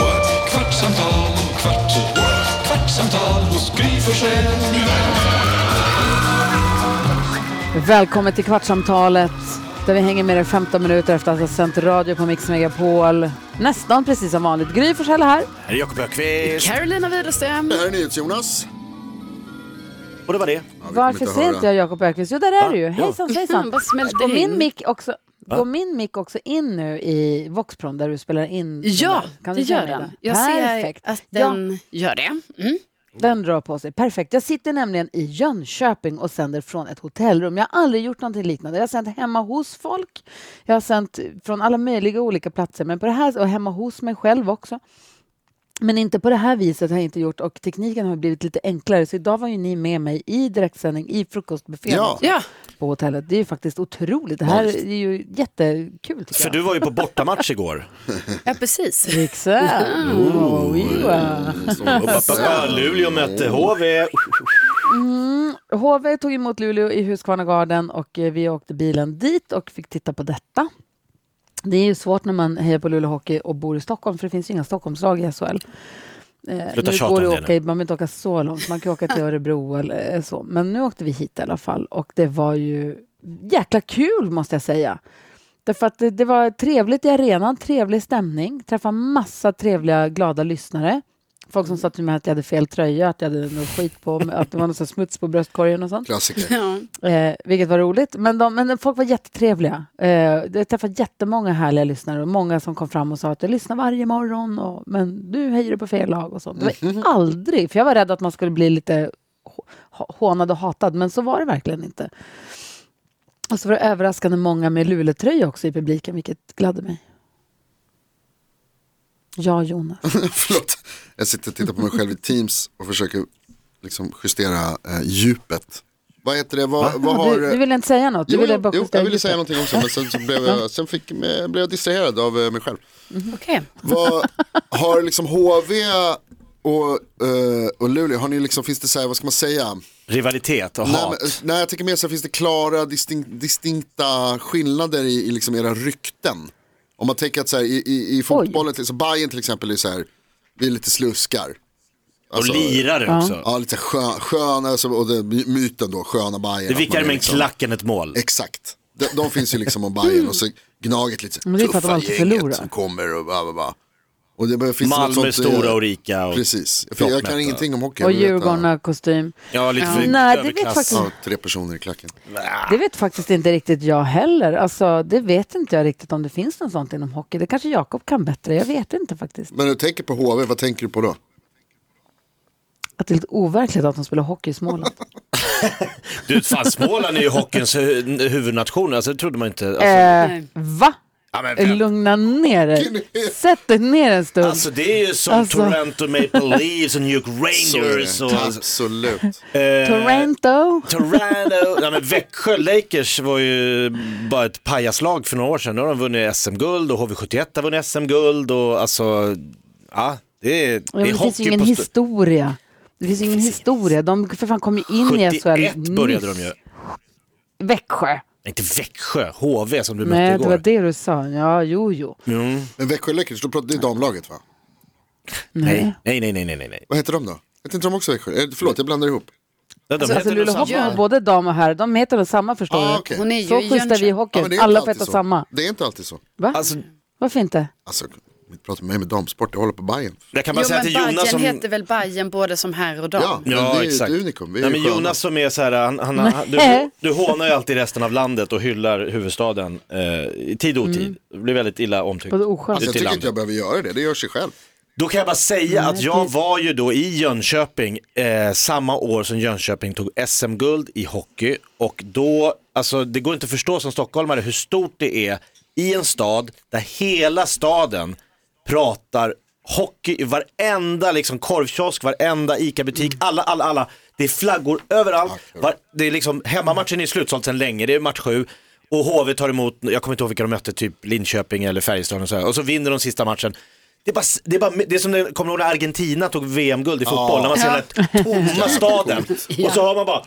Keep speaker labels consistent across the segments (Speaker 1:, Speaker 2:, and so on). Speaker 1: what? kvartsamtal, kvart, what? kvartsamtal hos Gry Forssell med vänner.
Speaker 2: Välkommen till Kvartsamtalet där vi hänger med er 15 minuter efter att ha sänt radio på Mix Megapol. Nästan precis som vanligt. Gry Forssell här.
Speaker 3: Här är Jakob Öqvist.
Speaker 4: Carolina Widerström.
Speaker 5: Det här är NyhetsJonas.
Speaker 3: Och det var det.
Speaker 2: Varför ser inte jag Jakob Öqvist? Jo, där är du ju.
Speaker 3: Ja.
Speaker 2: Hejsan svejsan.
Speaker 4: Vad smälte
Speaker 2: Går min
Speaker 4: in.
Speaker 2: mick också, går min mic också in nu i Voxpron där du spelar in?
Speaker 4: Ja,
Speaker 2: Kan du
Speaker 4: det
Speaker 2: se
Speaker 4: gör
Speaker 2: mig
Speaker 4: den.
Speaker 2: där?
Speaker 4: Jag
Speaker 2: Perfekt.
Speaker 4: ser att
Speaker 2: Ja,
Speaker 4: den gör det. Mm.
Speaker 2: den rör på sig. Perfekt. Jag sitter nämligen i Jönköping och sänder från ett hotellrum. Jag har aldrig gjort någonting liknande. Jag har sänt hemma hos folk. Jag har sänt från alla möjliga olika platser, men på det här och hemma hos mig själv också. Men inte på det här viset har jag inte gjort och tekniken har blivit lite enklare. Så idag var ju ni med mig i direktsändning i frukostbuffén
Speaker 5: Ja.
Speaker 4: Ja,
Speaker 2: på hotellet. Det är ju faktiskt otroligt. Det här är ju jättekul tycker
Speaker 3: För
Speaker 2: jag.
Speaker 3: du var ju på bortamatch igår.
Speaker 4: ja, precis.
Speaker 2: Exakt. Oh, yeah.
Speaker 3: Pappa, Luleå mötte HV.
Speaker 2: HV tog emot Luleå i Husqvarnagarden och eh, vi åkte bilen dit och fick titta på detta. Det är ju svårt när man hejar på Luleå Hockey och bor i Stockholm för det finns ju inga Stockholmslag i SHL. Eh,
Speaker 3: Sluta
Speaker 2: nu
Speaker 3: tjata
Speaker 2: går det
Speaker 3: om
Speaker 2: att
Speaker 3: det
Speaker 2: åka, man behöver inte åka så långt, man kan åka till Örebro eller eh, så. Men nu åkte vi hit i alla fall och det var ju jäkla kul måste jag säga. Därför att det, det var trevligt i arenan, trevlig stämning, träffade massa trevliga, glada lyssnare. Folk som sa till mig att jag hade fel tröja, att jag hade något skit på mig, att det var någon sån smuts på bröstkorgen och sånt.
Speaker 5: Klassiker.
Speaker 4: Ja.
Speaker 2: Eh, vilket var roligt. Men, de, men folk var jättetrevliga. Eh, jag träffade jättemånga härliga lyssnare och många som kom fram och sa att jag lyssnar varje morgon, och, men du hejar på fel lag och sånt. Det var aldrig, för jag var rädd att man skulle bli lite hå- hå- hånad och hatad, men så var det verkligen inte. Och så var det överraskande många med Luletröja också i publiken, vilket gladde mig. Ja, Jonas.
Speaker 5: Förlåt. Jag sitter och tittar på mig själv i Teams och försöker liksom justera eh, djupet. Vad heter det? Vad, vad har...
Speaker 2: Du, du ville inte säga något? Du
Speaker 5: Jo,
Speaker 2: ville
Speaker 5: jo,
Speaker 2: bara
Speaker 5: jo,
Speaker 2: justera
Speaker 5: jag ville
Speaker 2: ljudet.
Speaker 5: säga någonting också men sen, så blev, jag, sen fick, eh, blev jag distraherad av eh, mig själv.
Speaker 4: Okej.
Speaker 5: Vad har liksom HV och, eh, och Luleå, har ni liksom, finns det så här, vad ska man säga?
Speaker 3: Rivalitet och
Speaker 5: Nej,
Speaker 3: hat.
Speaker 5: men, alltså, nej, jag tycker mer så här, finns det klara distink, distinkta skillnader i, i liksom era rykten. Om man tänker att så här, i, i, i fotbollen, till, så Bayern till exempel är så här, vi är lite sluskar.
Speaker 3: Och
Speaker 5: Alltså,
Speaker 3: lirare också.
Speaker 5: Ja, lite skön, sköna, alltså, och det, myten då, sköna Bayern.
Speaker 3: Det
Speaker 5: att
Speaker 3: viktigare
Speaker 5: man är
Speaker 3: med en
Speaker 5: liksom-
Speaker 3: klack än ett mål.
Speaker 5: Exakt. De, de finns ju liksom om Bayern och så Gnaget lite
Speaker 2: Men det är för att de
Speaker 5: tuffa
Speaker 2: alltid
Speaker 5: gänget
Speaker 2: förlorar.
Speaker 5: som kommer och bla bla bla. Och det bör- finns något
Speaker 3: Malmö är
Speaker 5: sånt, eh,
Speaker 3: stora och rika. Och,
Speaker 5: Precis, för jag kan
Speaker 3: Proppmätta.
Speaker 5: ingenting om hockey.
Speaker 2: Och
Speaker 5: jag vill veta-
Speaker 2: Djurgården har kostym.
Speaker 3: Ja, lite för
Speaker 2: Nej, det vet
Speaker 3: överklass.
Speaker 2: faktiskt-
Speaker 5: Ja, tre personer i klacken.
Speaker 2: Det vet faktiskt inte riktigt jag heller. Alltså, det vet inte jag riktigt om det finns något sånt inom hockey. Det kanske Jakob kan bättre. Jag vet inte faktiskt.
Speaker 5: Men när du tänker på HV, vad tänker du på då?
Speaker 2: Att det är lite overkligt att de spelar hockey i Småland.
Speaker 3: Du, fan, Småland är ju hockeyns hu- huvudnation. Alltså, det trodde man inte. Alltså,
Speaker 2: eh, va?
Speaker 3: ja, men vem-
Speaker 2: Lugna ner dig. Sätt dig ner en stund.
Speaker 3: Alltså det är ju som
Speaker 2: Alltså.
Speaker 3: Toronto Maple Leafs och New York
Speaker 5: Så är det.
Speaker 3: Rangers. Och,
Speaker 5: Absolut.
Speaker 3: eh,
Speaker 2: Toronto.
Speaker 3: Toronto, ja, men Växjö Lakers var ju bara ett pajaslag för några år sedan. Nu har de vunnit SM-guld och HV71 har vunnit SM-guld och alltså, ja, det är,
Speaker 2: Ja, men
Speaker 3: det är
Speaker 2: det finns ju
Speaker 3: hockey
Speaker 2: ingen
Speaker 3: på st-
Speaker 2: historia. Det finns ju ingen historia. De för fan kom ju in i SHL
Speaker 3: 71 började de ju.
Speaker 2: nyss.
Speaker 3: Nej,
Speaker 2: Växjö.
Speaker 3: inte Växjö, HV som du mötte
Speaker 2: Nej, det
Speaker 3: igår.
Speaker 2: var det du sa. Ja, jo, jo.
Speaker 5: Men Växjö Lakers, då pratar- det är damlaget va?
Speaker 3: Nej, nej, nej, nej, nej, nej. nej.
Speaker 5: Vad heter de då? Heter inte de också Växjö? Eh, Förlåt, jag blandar ihop.
Speaker 3: De heter
Speaker 2: Alltså,
Speaker 3: nog
Speaker 2: Luleå Hockey
Speaker 3: samma.
Speaker 2: har både dam och herr. De heter väl samma, förstår
Speaker 5: Ah,
Speaker 2: du?
Speaker 5: okej.
Speaker 4: Hon är ju
Speaker 2: Så
Speaker 4: i
Speaker 2: schysst är vi i
Speaker 4: Jönköping.
Speaker 5: Ja,
Speaker 2: hockeyn.
Speaker 5: men det är inte
Speaker 2: Alla får
Speaker 5: alltid
Speaker 2: heta
Speaker 5: så.
Speaker 2: samma.
Speaker 5: Det är inte alltid så.
Speaker 2: Va?
Speaker 3: Alltså,
Speaker 2: Varför inte?
Speaker 5: Alltså, ni pratar med mig med damsport, jag håller på Bayern.
Speaker 3: jag kan bara
Speaker 4: Jo,
Speaker 3: säga
Speaker 4: men
Speaker 3: till Jonas
Speaker 4: Bajen
Speaker 3: som...
Speaker 4: heter väl Bajen både som herr och dam?
Speaker 5: Ja, men
Speaker 3: Ja,
Speaker 5: det är ju
Speaker 3: exakt.
Speaker 5: ett unikum. Vi är
Speaker 3: Nej,
Speaker 5: ju
Speaker 3: men
Speaker 5: sköna.
Speaker 3: Jonas som är så här, han, han, han, du,
Speaker 2: Nej.
Speaker 3: du hånar ju alltid resten av landet och hyllar huvudstaden eh, i tid och otid. Det blir väldigt illa omtyckt.
Speaker 2: Mm. Både oskönt.
Speaker 5: Alltså,
Speaker 3: ute
Speaker 5: jag
Speaker 3: i
Speaker 5: tycker
Speaker 3: landet.
Speaker 5: inte jag behöver göra det, det gör sig själv.
Speaker 3: Då kan jag bara säga att jag
Speaker 2: precis.
Speaker 3: var ju då i Jönköping eh, samma år som Jönköping tog SM-guld i hockey och då, alltså det går inte att förstå som stockholmare hur stort det är i en stad där hela staden pratar hockey, i varenda liksom, korvkiosk, varenda ICA-butik, alla, alla, alla. Det är flaggor överallt. Var, det är liksom, hemmamatchen är slutsåld sedan länge, det är match sju. Och HV tar emot, jag kommer inte ihåg vilka de mötte, typ Linköping eller Färjestad och så här. Och så vinner de sista matchen. Det är, bara, det är, bara, det är som när, kommer du ihåg när Argentina tog VM-guld i fotboll, när man ser den här tomma staden. Och så har man bara,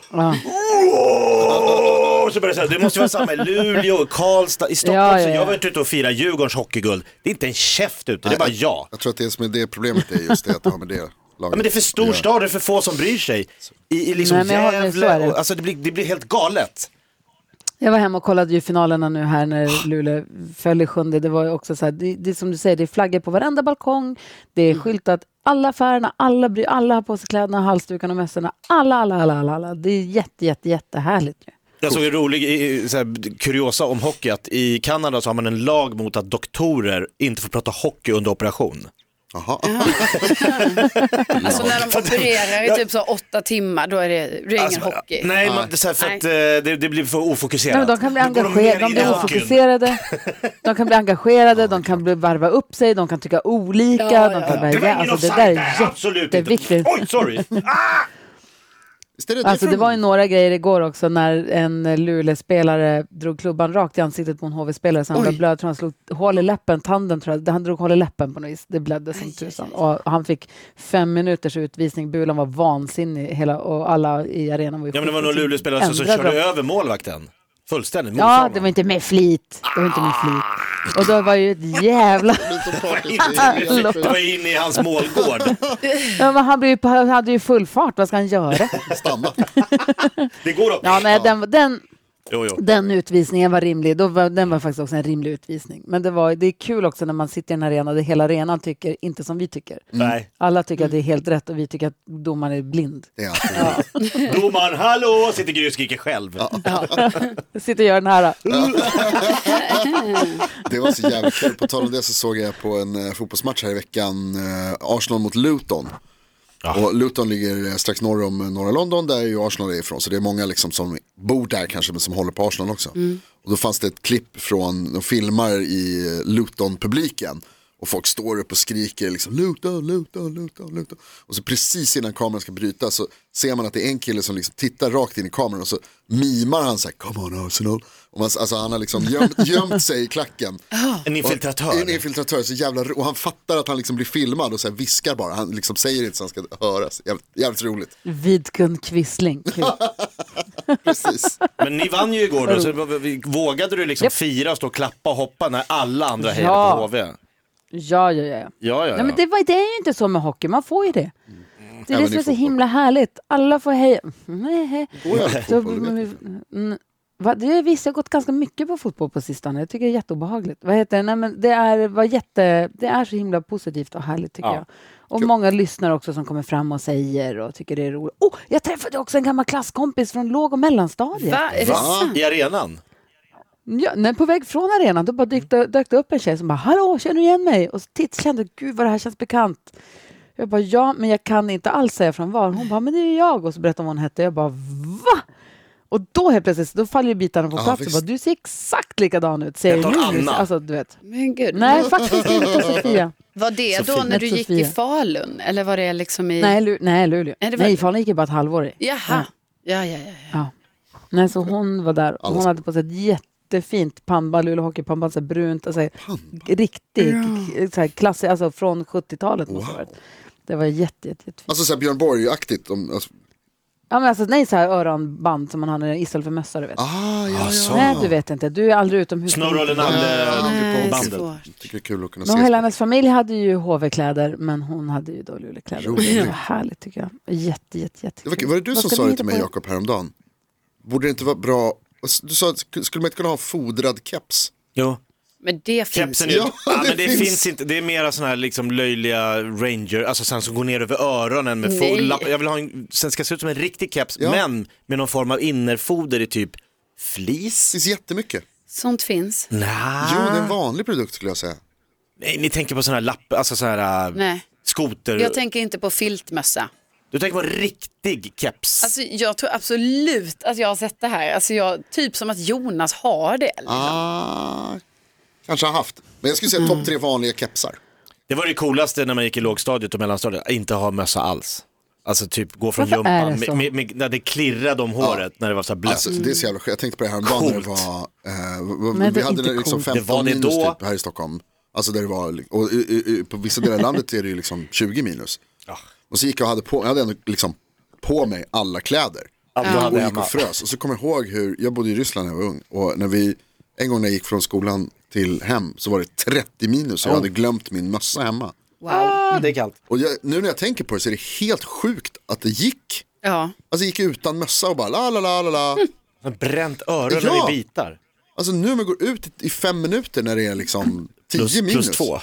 Speaker 3: Åh! Och så börjar jag säga, det måste vara samma i Luleå, Karlstad, i Stockholm.
Speaker 2: Ja, ja,
Speaker 3: Så
Speaker 2: ja.
Speaker 3: jag var inte ute och firade Djurgårdens hockeyguld. Det är inte en käft ute, det är bara jag.
Speaker 5: Jag tror att det som är det problemet är just det att det har med det laget
Speaker 3: Ja, men det är för stor
Speaker 5: att göra.
Speaker 3: stad, det är för få som bryr sig. I, i liksom
Speaker 2: Nej, men jag håller med, så är
Speaker 3: Gävle,
Speaker 2: det.
Speaker 3: och, alltså det blir, det blir helt galet.
Speaker 2: Jag var hemma och kollade ju finalerna nu här
Speaker 5: Ah.
Speaker 2: när Luleå föll i sjunde. Det var ju också så här, det, det är som du säger, det är flaggor på varenda balkong. Det är skyltat alla affärerna, alla, bry- alla har på sig kläderna, halsdukarna och mössorna. Alla, alla, alla, alla, alla. Det är jätte, jätte, jättehärligt ju.
Speaker 3: Jag såg en rolig i- i- så här, kuriosa om hockey, att i Kanada så har man en lag mot att doktorer inte får prata hockey under operation.
Speaker 5: Jaha.
Speaker 4: Alltså när de opererar i typ så åtta timmar, då är det, det är ingen
Speaker 3: Alltså,
Speaker 4: hockey.
Speaker 3: Nej, man, det, är så här, för
Speaker 4: Nej.
Speaker 3: att, eh, det, det blir för
Speaker 2: Nej,
Speaker 3: ofokuserat.
Speaker 2: men de kan bli
Speaker 3: Då går de
Speaker 2: engagerade,
Speaker 3: ner
Speaker 2: de
Speaker 3: i
Speaker 2: blir
Speaker 3: hockeyn.
Speaker 2: ofokuserade, de kan bli engagerade, de kan bli varva upp sig, de kan tycka olika.
Speaker 4: Ja,
Speaker 2: de
Speaker 4: ja,
Speaker 2: kan
Speaker 4: ja.
Speaker 2: bara,
Speaker 3: Det var
Speaker 2: ja,
Speaker 3: ingen
Speaker 2: alltså, det
Speaker 3: offside
Speaker 2: där
Speaker 3: där,
Speaker 2: är
Speaker 3: absolut inte.
Speaker 2: jätteviktigt.
Speaker 3: Oj, sorry. Ah!
Speaker 5: Visst är det,
Speaker 2: Alltså det
Speaker 5: från-
Speaker 2: var ju några grejer igår också när en Luleå-spelare drog klubban rakt i ansiktet på en HV-spelare så han blev blöd. Tror han slog hål i läppen, tanden tror jag. Han drog hål i läppen på något vis. Det blödde som tusan. Och han fick fem minuters utvisning. Bulan var vansinnig hela, och alla i arenan var ju
Speaker 3: Ja, men det var
Speaker 2: sjuka.
Speaker 3: någon Luleåspelare som, som
Speaker 2: Ändrade
Speaker 3: körde
Speaker 2: de.
Speaker 3: över målvakten. Fullständigt.
Speaker 2: Ja, det var inte med flit. Det var inte med flit. Och då var ju ett jävla...
Speaker 3: det var inne i hans målgård.
Speaker 2: Ja, men han, blev ju, på- han hade ju full fart. Vad ska han göra?
Speaker 5: Stanna.
Speaker 3: Det går upp.
Speaker 2: Ja, nej, den, den,
Speaker 3: Jo, jo.
Speaker 2: Den utvisningen var rimlig. Då var, den var faktiskt också en rimlig utvisning. Men det, var, det är kul också när man sitter i en arena där hela arenan tycker inte som vi tycker.
Speaker 3: Nej.
Speaker 2: Alla tycker att det är helt rätt och vi tycker att domaren är blind.
Speaker 5: Det är alltid-
Speaker 3: Domaren, hallå, sitter Gry och skriker själv.
Speaker 2: Jag sitter och gör den här.
Speaker 5: Det var så jävla kul. På tal om det så såg jag på en eh, fotbollsmatch här i veckan, eh, Arsenal mot Luton. Och Luton ligger eh, strax norr om eh, norra London där ju Arsenal är ifrån. Så det är många liksom som bor där kanske men som håller på Arsenal också. Och då fanns det ett klipp från, de filmar i eh, Luton-publiken. Och folk står upp och skriker liksom Luton, Luton, Luton, Luton. Och så precis innan kameran ska bryta så ser man att det är en kille som liksom tittar rakt in i kameran och så mimar han så här Come on Arsenal. Och man, alltså han har liksom gömt, gömt sig i klacken.
Speaker 3: En
Speaker 5: Och En
Speaker 3: infiltratör.
Speaker 5: infiltratör, så jävla ro- och han fattar att han liksom blir filmad och så här viskar bara. Han liksom säger inte så han ska höras. Jävligt, jävligt roligt.
Speaker 2: Vidkun Quisling. Kul.
Speaker 5: Precis.
Speaker 3: Men ni vann ju igår då, så vågade du liksom fira och stå och klappa och hoppa när alla andra hejade
Speaker 2: Ja.
Speaker 3: på HV?
Speaker 2: Ja,
Speaker 3: Ja,
Speaker 2: ja, ja. ja.
Speaker 3: ja, ja.
Speaker 2: Nej, men det, var, det är ju inte så med hockey. Man får ju det. Det är det
Speaker 5: Även
Speaker 2: som
Speaker 5: i
Speaker 2: är så
Speaker 5: fotboll.
Speaker 2: himla härligt. Alla får heja. Nej, hej.
Speaker 5: Går jag på
Speaker 2: Så,
Speaker 5: fotboll, det vet jag.
Speaker 2: mm, va, det är visst, jag har gått ganska mycket på fotboll på sistone. Jag tycker det är jätteobehagligt. Vad heter det? Nej, men det, är, var jätte, det är så himla positivt och härligt tycker
Speaker 3: Ja.
Speaker 2: jag. Och många lyssnar också som kommer fram och säger och tycker det är roligt. Oh, jag träffade också en gammal klasskompis från låg och mellanstadiet.
Speaker 4: Va? Är det sant?
Speaker 3: I arenan?
Speaker 2: Ja, när på väg från arenan då bara dök,
Speaker 5: Mm.
Speaker 2: det- dök det upp en tjej som bara “Hallå, känner du igen mig?” och så titt, kände “Gud vad det här känns bekant”. Jag bara “Ja, men jag kan inte alls säga från var”. Hon bara “Men det är ju jag” och så berättade hon vad hon hette. Jag bara “Va?” Och då helt plötsligt, då faller ju bitarna på
Speaker 5: Ja,
Speaker 2: plats.
Speaker 5: visst.
Speaker 2: och bara, du ser exakt likadan ut, ser
Speaker 3: Jag
Speaker 2: jag
Speaker 3: tar
Speaker 2: nu.
Speaker 3: Anna.
Speaker 2: Alltså, du vet.
Speaker 4: Men gud.
Speaker 2: Nej, faktiskt inte Sofia.
Speaker 4: Var det då
Speaker 3: Sofia.
Speaker 4: när du gick i
Speaker 2: Sofia.
Speaker 4: Falun? Eller var det liksom i...
Speaker 2: Nej, Lu- nej Luleå.
Speaker 4: Nej, det var-
Speaker 2: Nej, Falun gick ju bara ett halvår i.
Speaker 4: Jaha. Ja, ja, ja. ja.
Speaker 2: Ja. Nej, så hon var där. och
Speaker 5: Alltså-
Speaker 2: Hon hade på sig ett jättefint pannband, Luleå hockeypannband, så här brunt. Alltså, riktigt så här klassiskt, alltså från 70-talet måste det ha varit. Det var jätte, jätte, jättefint.
Speaker 5: Alltså så här Björn Borg-aktigt. om- Alltså,
Speaker 2: Ja, men alltså, nej, så här öronband som man har när- istället för mössa, du vet.
Speaker 5: ah, ja, ja.
Speaker 2: Nej, du vet inte. Du är aldrig utomhus.
Speaker 3: Snorre och
Speaker 4: Nej,
Speaker 3: Lenander-bandet.
Speaker 4: Äh, svårt.
Speaker 5: Tycker det är kul att kunna
Speaker 2: Men hela
Speaker 5: se.
Speaker 2: hennes familj hade ju HV-kläder, men hon hade ju då Luleåkläder. Det var härligt tycker jag. Jätte, jätte, jätte.
Speaker 5: Det var, kul. var det du som sa det till mig Jakob häromdagen? Borde det inte vara bra? alltså, Du sa, att- skulle man inte kunna ha fodrad keps?
Speaker 3: Jo.
Speaker 4: Men det finns
Speaker 3: Kepsen är
Speaker 4: ju.
Speaker 3: ju...
Speaker 5: Ja,
Speaker 3: Ja,
Speaker 5: det
Speaker 3: men det
Speaker 5: finns.
Speaker 3: finns. inte. Det är mera sådana här liksom löjliga ranger, alltså sen som går ner över öronen med
Speaker 4: Nej.
Speaker 3: full lapp. Jag vill ha en, sen ska det se ut som en riktig keps,
Speaker 5: Ja.
Speaker 3: men med någon form av innerfoder i typ flis?
Speaker 5: Det finns jättemycket.
Speaker 4: Sånt finns.
Speaker 3: Nja.
Speaker 5: Jo, det är en vanlig produkt skulle jag säga.
Speaker 3: Nej, ni tänker på sådana här lapp, alltså sådana här äh,
Speaker 4: Nej.
Speaker 3: skoter...
Speaker 4: Jag tänker inte på filtmössa.
Speaker 3: Du tänker på en riktig keps?
Speaker 4: Alltså, jag tror absolut att jag har sett det här. Alltså, jag, typ som att Jonas har det.
Speaker 5: Ah, kanske har haft. Men jag skulle säga topp tre vanliga kepsar.
Speaker 3: Det var det coolaste när man gick i lågstadiet och mellanstadiet, inte ha mössa alls. Alltså typ gå från
Speaker 2: Varför är
Speaker 3: jumpan,
Speaker 2: det så?
Speaker 3: med, med, med, när det klirrade om håret, när det var så här blött.
Speaker 5: Alltså, det är så jävla skönt. Jag tänkte på det här häromdagen när det
Speaker 3: Coolt.
Speaker 5: var, eh,
Speaker 2: Men det
Speaker 5: vi
Speaker 2: är
Speaker 5: hade
Speaker 2: inte
Speaker 5: det liksom
Speaker 2: coolt.
Speaker 5: 15
Speaker 3: Det var det
Speaker 5: minus
Speaker 3: då.
Speaker 5: typ här i Stockholm. Alltså där det var, och i- i- i- på vissa delar av landet är det ju liksom 20 minus.
Speaker 3: Ah.
Speaker 5: Och så gick jag och hade på, jag hade ändå liksom på mig alla kläder.
Speaker 3: Allt du hade
Speaker 5: och gick
Speaker 3: hemma.
Speaker 5: och frös. Och så kommer jag ihåg hur, jag bodde i Ryssland när jag var ung. Och när vi, en gång när jag gick från skolan till hem så var det 30 minus och
Speaker 3: Oh.
Speaker 5: jag hade glömt min mössa hemma.
Speaker 3: Ah, det är kallt.
Speaker 5: Och jag, nu när jag tänker på det så är det helt sjukt att det gick.
Speaker 4: Ja.
Speaker 5: Alltså jag gick utan mössa och bara la la la la la.
Speaker 3: Men Bränt öronen
Speaker 5: Ja.
Speaker 3: i bitar.
Speaker 5: Alltså nu om jag går ut i- i fem minuter när det är liksom 10
Speaker 3: Plus,
Speaker 5: minus.
Speaker 3: plus två.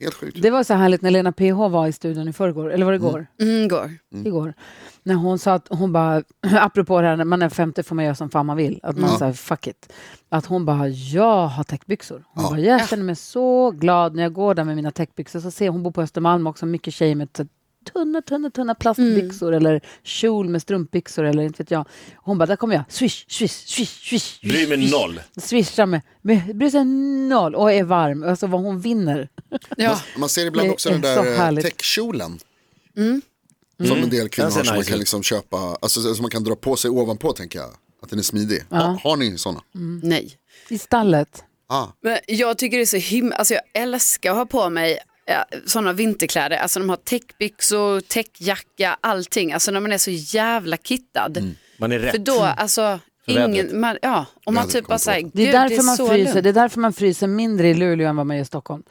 Speaker 5: Helt sjukt.
Speaker 2: Det var så härligt när Lena PH var i studion i förrgår, eller var det igår?
Speaker 4: Mm, går.
Speaker 2: Igår. När hon sa att hon bara, apropå det här när man är 50 får man göra som fan man vill, att man säger fuck it. Att hon bara, jag har täckbyxor. Hon bara, jag känner mig så glad när jag går där med mina täckbyxor. Så ser jag- hon bor på Östermalm också, mycket tjejer med så tunna, tunna, tunna plastbyxor eller kjol med strumpbyxor eller inte vet jag. Hon bara, där kommer jag, swish, swish, swish, swish.
Speaker 3: Bryr mig
Speaker 2: swish.
Speaker 3: noll.
Speaker 2: Swishar med, med bryr sig noll och är varm. Alltså vad hon vinner.
Speaker 4: Ja.
Speaker 5: Man ser ibland
Speaker 2: Det
Speaker 5: också
Speaker 2: är
Speaker 5: den
Speaker 2: så
Speaker 5: där eh,
Speaker 2: härligt. Mm.
Speaker 5: täckkjolen. Som en
Speaker 3: Mm.
Speaker 5: del kvinnor
Speaker 3: Den ser
Speaker 5: har som man
Speaker 3: nice
Speaker 5: kan
Speaker 3: ut.
Speaker 5: liksom köpa, alltså som man kan dra på sig ovanpå tänker jag. Att den är smidig. Ha, har ni sådana?
Speaker 2: Mm.
Speaker 4: Nej.
Speaker 2: I stallet.
Speaker 5: Ah.
Speaker 4: Men jag tycker det är så himla, alltså jag älskar att ha på mig ja, sådana vinterkläder, alltså de har täckbyxor, täckjacka, allting, alltså när man är så jävla kittad.
Speaker 3: Man är
Speaker 4: För
Speaker 3: rätt.
Speaker 4: då, alltså,
Speaker 3: vädret.
Speaker 4: ingen, man, ja, om man
Speaker 5: Vädret
Speaker 4: typ
Speaker 5: kommer
Speaker 4: bara säger,
Speaker 5: på.
Speaker 4: gud
Speaker 2: Det är, därför man
Speaker 4: så
Speaker 2: fryser.
Speaker 4: lugnt.
Speaker 2: det är därför man fryser mindre i Luleå än vad man gör i Stockholm.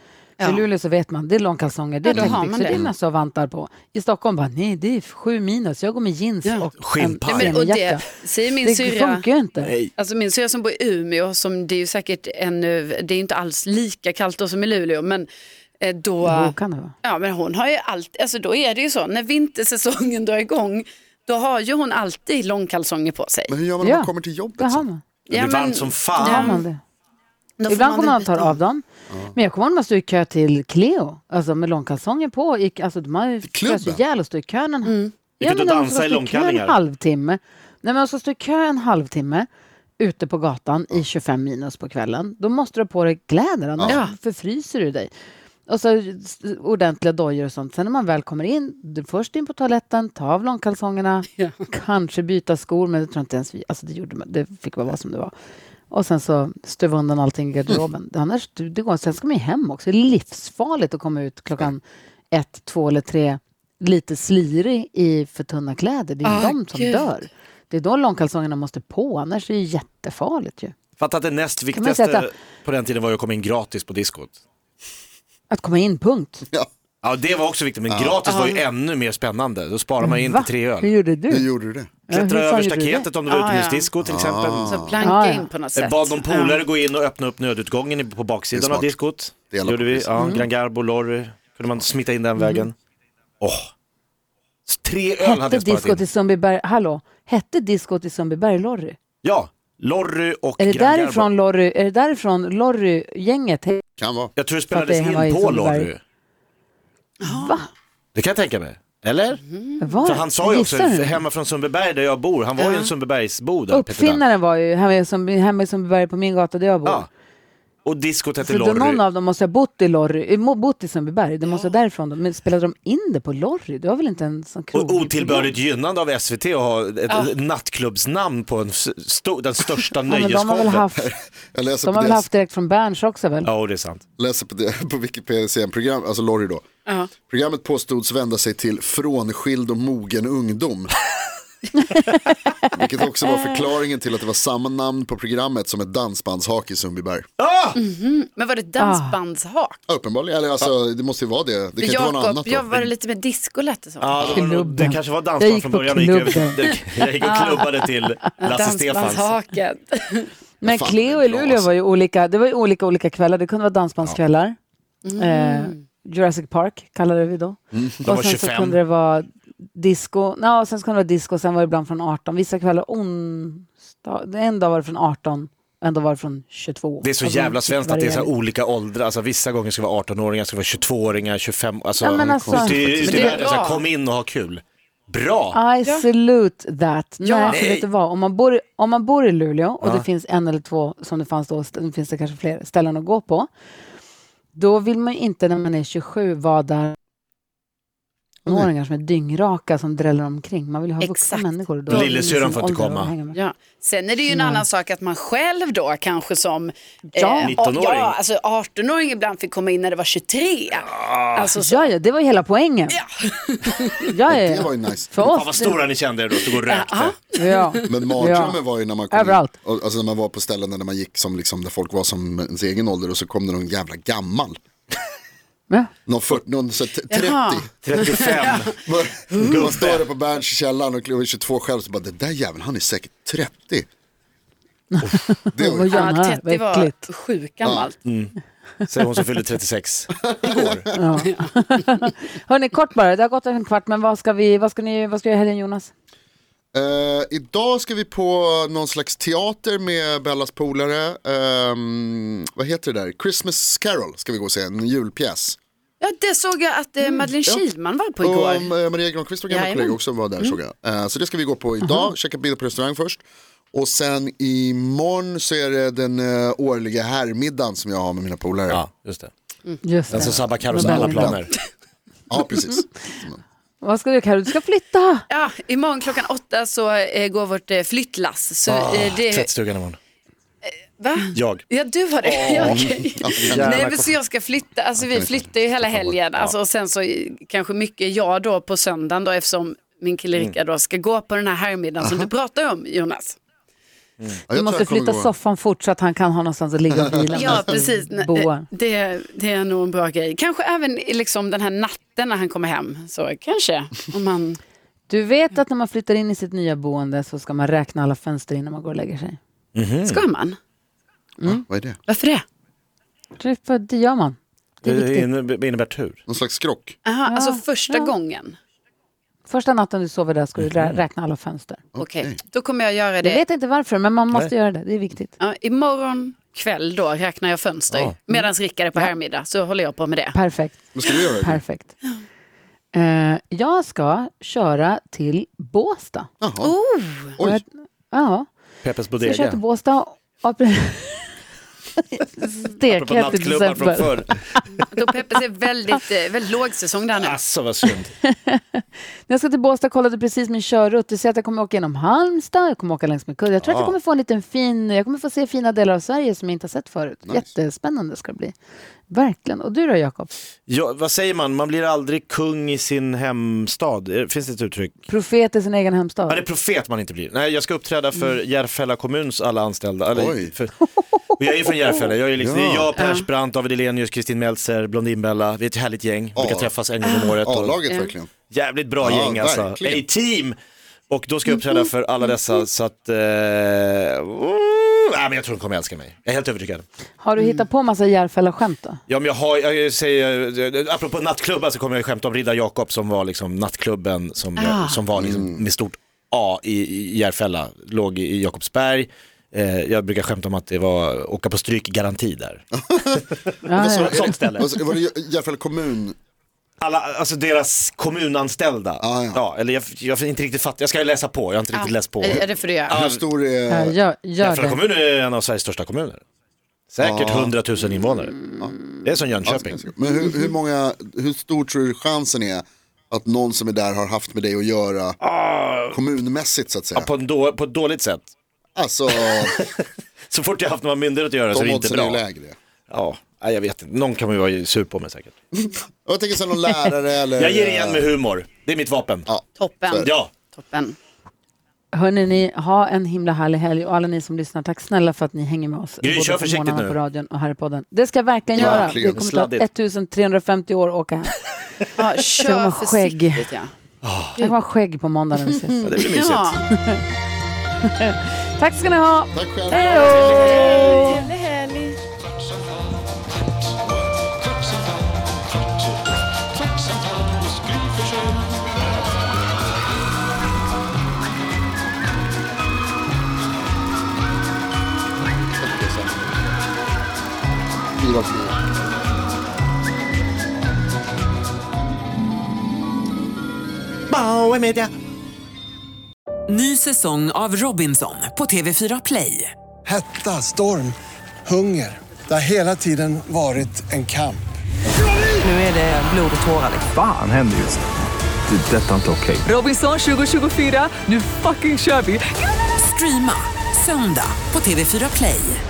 Speaker 4: Ja.
Speaker 2: I Luleå så vet man, det är långkalsonger, det är
Speaker 4: Ja, då har man
Speaker 2: täckbyxor, det
Speaker 4: det.
Speaker 2: är mössa och vantar på. I Stockholm bara, nej det är sju minus, jag går med jeans
Speaker 4: Ja.
Speaker 2: och
Speaker 3: Skinnpaj.
Speaker 2: en
Speaker 4: Nej, men, och det
Speaker 2: semijacka.
Speaker 4: säger min
Speaker 2: Det
Speaker 4: syrra,
Speaker 2: funkar ju inte.
Speaker 4: alltså min syrra som bor i Umeå, som det är ju säkert ännu, det är ju inte alls lika kallt då som i Luleå, men eh, då...
Speaker 2: Jo, kan det vara.
Speaker 4: Ja men hon har ju alltid, alltså då är det ju så, när vintersäsongen drar igång då har ju hon alltid långkalsonger på sig.
Speaker 5: Men hur gör man när man
Speaker 2: Ja.
Speaker 5: kommer till
Speaker 2: Där
Speaker 5: jobbet?
Speaker 2: har
Speaker 5: sen?
Speaker 2: man,
Speaker 3: Det
Speaker 4: Ja,
Speaker 3: blir
Speaker 4: men-
Speaker 3: varmt som fan.
Speaker 4: Ja,
Speaker 2: har man det.
Speaker 4: Då får
Speaker 2: Ibland kommer man
Speaker 4: väl
Speaker 2: att ta
Speaker 4: byta.
Speaker 2: av dem. Men jag kommer ihåg när man stod i kö till Cleo, alltså med långkalsonger på. Gick, alltså, man frös
Speaker 5: klubben?
Speaker 2: ihjäl och stod i kön en mm.
Speaker 3: Gick ut och dansade i långkallingar?
Speaker 2: En halvtimme. Nej, men alltså stå i kö en halvtimme ute på gatan i 25 minus på kvällen. Då måste du ha på dig kläder, annars
Speaker 4: Ja.
Speaker 2: förfryser du dig. Och så s- ordentliga dojor och sånt. Sen när man väl kommer in, du först in på toaletten, ta av långkalsongerna,
Speaker 4: Ja.
Speaker 2: kanske byta skor, men det tror jag inte ens vi, alltså det gjorde man, det fick vara vad som det var. Och sen så stuva undan allting i garderoben. Annars, du- det går, sen ska man ju hem också. Det är livsfarligt att komma ut klockan ett, två eller tre lite slirig i för tunna kläder. Det är ju
Speaker 4: Ah,
Speaker 2: de som
Speaker 4: gud.
Speaker 2: dör. Det är då långkalsongerna måste på, annars är det ju jättefarligt ju.
Speaker 3: Fatta att det näst
Speaker 2: man ju
Speaker 3: viktigaste
Speaker 2: sätta-
Speaker 3: på den tiden var ju att komma in gratis på diskot.
Speaker 2: Att komma in, punkt.
Speaker 5: Ja,
Speaker 3: Ja, det var också viktigt, men gratis var ju ännu mer spännande. Då sparar man in
Speaker 2: Va?
Speaker 3: till tre
Speaker 2: Hur
Speaker 3: öl.
Speaker 2: gjorde du?
Speaker 5: hur gjorde du det?
Speaker 3: Klättra
Speaker 2: hur fan
Speaker 3: över
Speaker 2: gjorde du det?
Speaker 3: staketet om det var
Speaker 4: Ah, ja.
Speaker 3: utomhusdisco till exempel.
Speaker 4: Så planka
Speaker 2: Ah, ja.
Speaker 4: in på något
Speaker 5: Eh,
Speaker 3: Jag
Speaker 4: sätt.
Speaker 3: bad någon polare gå in och öppna upp nödutgången i- på
Speaker 5: Det är
Speaker 3: baksidan
Speaker 5: smart.
Speaker 3: av diskot.
Speaker 5: Dela
Speaker 3: gjorde
Speaker 5: på
Speaker 3: vi.
Speaker 5: priset.
Speaker 3: Ja, Grand Garbo, Lorry. Kunde man smita in den vägen. Åh! Tre öl
Speaker 2: Hette
Speaker 3: hade jag sparat
Speaker 2: diskot
Speaker 3: in.
Speaker 2: i Sundbyberg, hallå, hette diskot i Sundbyberg Lorry?
Speaker 3: Ja, Lorry och
Speaker 2: Är det
Speaker 3: Grand Garbo.
Speaker 2: därifrån Lorry, är det därifrån Lorry-gänget? Hej,
Speaker 5: Kan vara.
Speaker 3: Jag tror det
Speaker 2: För att det
Speaker 3: spelades in
Speaker 2: var i
Speaker 3: på
Speaker 2: Sundbyberg.
Speaker 3: Lorry.
Speaker 2: Va?
Speaker 3: Det kan jag tänka mig. Eller?
Speaker 2: Var?
Speaker 3: För han sa ju också,
Speaker 2: Gissar du?
Speaker 3: hemma från Sundbyberg där jag bor, han var ju en Sundbybergsbo där, Peter Damm.
Speaker 2: Uppfinnaren var ju hemma i Sundby- hemma i Sundbyberg på min gata där jag bor.
Speaker 3: Ja. Och diskot hette
Speaker 2: Så då någon
Speaker 3: Lorry.
Speaker 2: av dem måste ha bott i, Lorry, eh, mo- bott i Sundbyberg, det måste vara därifrån. de- Men spelade de in det på Lorry? Det var väl inte en sån krog?
Speaker 3: Och otillbörligt gynnande av SVT att ha ett nattklubbsnamn på en s- sto- den största
Speaker 2: Ja, men de har väl
Speaker 3: nöjesshowen.
Speaker 2: haft,
Speaker 5: Jag läser
Speaker 2: de
Speaker 5: på,
Speaker 2: har väl
Speaker 5: deras,
Speaker 2: haft direkt från Berns också väl?
Speaker 3: Ja, det är sant.
Speaker 5: läser på, det- på Wikipedia-program, alltså Lorry då.
Speaker 4: Ja.
Speaker 5: Programmet påstods vända sig till frånskild och mogen ungdom. Vilket också var förklaringen till att det var samma namn på programmet som ett dansbandshak i Sundbyberg.
Speaker 3: Ah!
Speaker 4: Men
Speaker 2: Ah.
Speaker 4: var det dansbandshak?
Speaker 5: Ja, uppenbarligen, eller alltså det måste ju vara det. Det kan inte vara något
Speaker 4: Jakob,
Speaker 5: annat då.
Speaker 4: jag var det lite med disco lät det som.
Speaker 3: Ja, det, var,
Speaker 2: Klubben.
Speaker 3: det kanske var
Speaker 2: Jag
Speaker 3: dansband
Speaker 2: gick
Speaker 3: från
Speaker 2: på
Speaker 3: början och gick över
Speaker 2: klubben.
Speaker 3: till, jag gick och klubbade till Lasse
Speaker 5: alltså,
Speaker 3: Stefans.
Speaker 4: Dansbandshaken.
Speaker 2: Men
Speaker 5: Fan,
Speaker 2: Cleo
Speaker 5: det
Speaker 2: i
Speaker 5: är bra,
Speaker 2: Luleå
Speaker 5: alltså.
Speaker 2: var ju olika, det var ju olika olika kvällar. Det kunde vara dansbandskvällar. Eh, Jurassic Park kallade vi då.
Speaker 3: Mm. var
Speaker 2: och sen
Speaker 3: 25.
Speaker 2: så kunde det vara disco. No, sen så kunde det vara disco, sen var det ibland från 18. Vissa kvällar onsdag, en dag var det från 18, en dag var det från 22.
Speaker 3: Det är så
Speaker 2: Alltså,
Speaker 3: jävla
Speaker 2: fick
Speaker 3: svenskt att det är så här
Speaker 2: variera.
Speaker 3: olika åldrar. Alltså, vissa gånger ska det vara 18-åringar, ska det vara 22-åringar, 25 alltså,
Speaker 2: Ja, men alltså-
Speaker 3: Ute i-
Speaker 4: Men
Speaker 3: ute
Speaker 4: det
Speaker 3: i
Speaker 4: är typ-
Speaker 3: världen, så här,
Speaker 4: bra.
Speaker 3: kom in och ha kul. Bra!
Speaker 2: I salute that. Nej, för vet du vad? Om man bor i, om man bor i Luleå och det finns en eller två, som det fanns då, st- finns det kanske fler ställen att gå på. Då vill man ju inte när man är 27 vara där åringar som är dyngraka som dräller omkring. Man vill ju ha vuxna
Speaker 4: Exakt.
Speaker 2: människor. och då
Speaker 3: Lille
Speaker 2: är det
Speaker 3: syrran
Speaker 2: liksom
Speaker 3: får inte
Speaker 2: ålder att
Speaker 3: komma.
Speaker 2: hänga med.
Speaker 4: Ja. Sen är det ju
Speaker 2: Mm.
Speaker 4: en annan sak att man själv då kanske som
Speaker 2: Ja. Eh,
Speaker 3: 19-åring.
Speaker 4: ja, alltså 18-åring ibland fick komma in när det var 23. Alltså, så,
Speaker 2: Ja, ja, det var ju hela poängen. Ja, ja, ja.
Speaker 5: Det var ju nice.
Speaker 2: För
Speaker 3: Fan vad
Speaker 2: oss.
Speaker 3: stora ni kände er då, stod och rökte.
Speaker 2: Ja.
Speaker 5: Men mardrömmen
Speaker 2: Ja.
Speaker 5: var ju när man, kom
Speaker 2: Överallt.
Speaker 5: In, och- alltså när man var på ställen där man gick som liksom, där folk var som ens egen ålder och så kom det någon jävla gammal.
Speaker 2: Ja.
Speaker 5: Någon, 40, någon så, t- 30.
Speaker 4: Jaha.
Speaker 3: 35.
Speaker 4: Mm.
Speaker 5: Man, man står där på Berns i källaren och kliver 22 själv så bara det där jäveln han är säkert 30. Det var
Speaker 2: Vad
Speaker 5: ju
Speaker 2: gör han
Speaker 4: Mm.
Speaker 2: här?
Speaker 4: ja, 30
Speaker 2: Vad äckligt.
Speaker 4: var sjukt gammalt.
Speaker 3: Säger hon som fyllde 36 igår.
Speaker 2: Hörni, kort bara. Det har gått en kvart, men vad ska vi, vad ska ni, vad ska jag göra i helgen Jonas?
Speaker 5: Eh, idag ska vi på någon slags teater med Bellas polare. Ehm, vad heter det där? Christmas Carol ska vi gå och se, en julpjäs.
Speaker 4: Ja, det såg jag att eh, Madeleine
Speaker 5: Ja.
Speaker 4: Kihlman var på igår.
Speaker 5: Och eh, Maria Granqvist, vår gamla
Speaker 4: Jajamän. Mm.
Speaker 5: kollega, också var där såg jag. Eh, Så det ska vi gå på idag, käka middag på restaurang först. Och sen imorgon så är det den eh, årliga herrmiddagen som jag har med mina polare. Ja,
Speaker 3: Ja, just det.
Speaker 2: Just
Speaker 3: Den
Speaker 2: det.
Speaker 3: som sabbar Carros alla planer.
Speaker 5: precis.
Speaker 2: Vad ska du Karo? Du ska flytta.
Speaker 4: Ja, imorgon klockan åtta så eh, går vårt eh, flyttlass. Så,
Speaker 2: Ah,
Speaker 4: eh, det,
Speaker 3: Tvättstugan imorgon.
Speaker 4: va?
Speaker 3: Ah, Jag.
Speaker 4: Ja, du var det. Ja, okej. Nej, men så jag ska flytta. Alltså, vi flyttar ju hela helgen. Alltså, och sen så eh, kanske mycket jag då på söndagen då, eftersom min kille Rickard då ska gå på den här herrmiddagen som du pratar om, Jonas.
Speaker 5: Ja,
Speaker 2: Du
Speaker 5: jag tror
Speaker 2: måste
Speaker 5: jag kommer
Speaker 2: flytta
Speaker 5: gå.
Speaker 2: soffan fort så att han kan ha någonstans att ligga och vila.
Speaker 4: Ja,
Speaker 2: medan vi
Speaker 4: precis. Nej, eh.
Speaker 2: Boar.
Speaker 4: Det, det är nog en bra grej. Kanske även i liksom den här natten när han kommer hem. Så kanske, om man...
Speaker 2: Du vet att när man flyttar in i sitt nya boende så ska man räkna alla fönster innan man går och lägger sig.
Speaker 3: Mm.
Speaker 4: Ska man?
Speaker 2: Mm.
Speaker 5: Va? Vad är det?
Speaker 4: Varför det?
Speaker 2: Det- för Det gör man. Det är
Speaker 3: Det
Speaker 2: viktigt.
Speaker 3: inne- innebär tur.
Speaker 5: Någon slags skrock?
Speaker 4: Aha, alltså första gången.
Speaker 2: Första natten du sover där ska du
Speaker 5: Mm.
Speaker 2: rä- räkna alla fönster.
Speaker 4: Okej, då kommer jag göra
Speaker 2: Jag
Speaker 4: det.
Speaker 2: vet inte varför, men man måste göra det. Det är viktigt.
Speaker 4: Ja, imorgon kväll då räknar jag fönster.
Speaker 3: Mm.
Speaker 4: Medan Rickard är på herrmiddag så håller jag på med det.
Speaker 2: Perfekt.
Speaker 5: Vad ska du
Speaker 2: Oh.
Speaker 5: göra?
Speaker 2: Perfekt. Eh, jag ska köra till Båstad.
Speaker 5: Jaha.
Speaker 2: Och jag-
Speaker 5: Oj,
Speaker 2: Ja,
Speaker 3: Peppes
Speaker 2: så jag kör
Speaker 3: Bodega.
Speaker 2: till Båstad. och-
Speaker 3: Apropå
Speaker 2: Stekhet i
Speaker 3: nattklubbar från
Speaker 2: december.
Speaker 3: förr.
Speaker 4: Då Peppes är väldigt, eh, väldigt lågsäsong där nu.
Speaker 3: Alltså vad synd.
Speaker 2: Jag ska till Båstad kollade precis min körrutt. Du ser att jag kommer åka genom Halmstad, jag kommer åka längs med kudden. Jag tror att jag kommer få en liten fin, jag kommer få se fina delar av Sverige som jag inte har sett förut. Jättespännande ska det bli. Verkligen. Och du då Jakob?
Speaker 3: Ja, vad säger man, man blir aldrig kung i sin hemstad. Eh, Finns det ett uttryck?
Speaker 2: Profet i sin egen hemstad.
Speaker 3: Ja, det är profet man inte blir. Nej, jag ska uppträda för Järfälla kommuns alla anställda. Eller,
Speaker 5: Mm. Oj.
Speaker 3: för, och jag är ju från Järfälla, jag är ju liksom, det är jag, Persbrandt, David Elenius, Kristin Meltzer, Blondinbella. Vi är ett härligt gäng, brukar träffas en gång om året. Och
Speaker 5: A-laget verkligen.
Speaker 3: jävligt bra
Speaker 5: Ja,
Speaker 3: gäng alltså.
Speaker 5: verkligen. Mm-hmm.
Speaker 3: A-team! Och då ska jag uppträda för alla dessa, så att... Eh, oh, nej, men jag tror de kommer älska mig. Jag är helt övertygad.
Speaker 2: Har du hittat på massa Järfälla-skämt då?
Speaker 3: Ja, men jag har, jag säger, eh, apropå nattklubbar så kommer jag skämta om Riddar Jakob som var liksom nattklubben som, jag,
Speaker 4: Ah.
Speaker 3: som var liksom, med stort A i, i Järfälla, låg i, i Jakobsberg. Eh, jag brukar skämta om att det var åka på stryk-garanti där.
Speaker 2: Ja, ja.
Speaker 5: Är det-
Speaker 3: Sånt ställe.
Speaker 5: Vad sa- Var det Jä- Järfälla kommun?
Speaker 3: Alla, alltså deras kommunanställda.
Speaker 5: Ah, ja.
Speaker 3: eller jag, jag, har inte riktigt fattat, jag ska läsa på, jag har inte riktigt läst på.
Speaker 4: Ah. Är det för det?
Speaker 5: Hur stor är...
Speaker 2: Ja, gör, gör
Speaker 3: Järfälla
Speaker 2: det.
Speaker 3: kommun är en av Sveriges största kommuner. Säkert 100 000 invånare. Ah. Det är som Jönköping.
Speaker 5: Men hur, hur, många, hur stor tror du chansen är att någon som är där har haft med dig att göra kommunmässigt så att säga?
Speaker 3: Ah. På, en då, på ett dåligt sätt.
Speaker 5: Alltså,
Speaker 3: Så fort jag har haft några myndigheter att göra så är
Speaker 5: de
Speaker 3: det inte
Speaker 5: oddsen är ju
Speaker 3: bra.
Speaker 5: lägre.
Speaker 3: Ja, nej, jag vet inte. Någon kan man ju vara sur på mig säkert.
Speaker 5: Och Jag tänker sen någon lärare eller...
Speaker 3: Jag ger igen med humor. Det är mitt vapen.
Speaker 5: Ja.
Speaker 4: Toppen.
Speaker 3: Ja,
Speaker 4: Toppen.
Speaker 2: Hörni, ni, ha en himla härlig helg. Och alla ni som lyssnar, tack snälla för att ni hänger med oss.
Speaker 3: Gry,
Speaker 2: både
Speaker 3: kör
Speaker 2: på
Speaker 3: försiktigt
Speaker 2: morgnarna
Speaker 3: nu.
Speaker 2: på radion och här i podden. Det ska jag verkligen
Speaker 5: Ja,
Speaker 2: göra.
Speaker 5: verkligen.
Speaker 2: Det kommer ta
Speaker 3: Sladdigt.
Speaker 2: 1350 år att åka hem.
Speaker 4: Ja,
Speaker 2: man
Speaker 4: kör
Speaker 2: skägg.
Speaker 4: försiktigt. Ja.
Speaker 2: Jag kommer ha skägg på måndag när vi ses.
Speaker 3: det blir mysigt.
Speaker 4: Ja.
Speaker 2: Tack ska ni ha.
Speaker 5: Tack själv.
Speaker 2: Hej då!
Speaker 5: Fyra av fyra.
Speaker 3: Bauer Media.
Speaker 6: Ny säsong av Robinson på TV4 Play.
Speaker 7: Hetta, storm, hunger. Det har hela tiden varit en kamp.
Speaker 6: nu är det blod och tårar. Liksom.
Speaker 8: Fan händer just nu. Det är detta inte okej.
Speaker 6: Robinson 2024, nu fucking kör vi! Streama söndag på TV4 Play.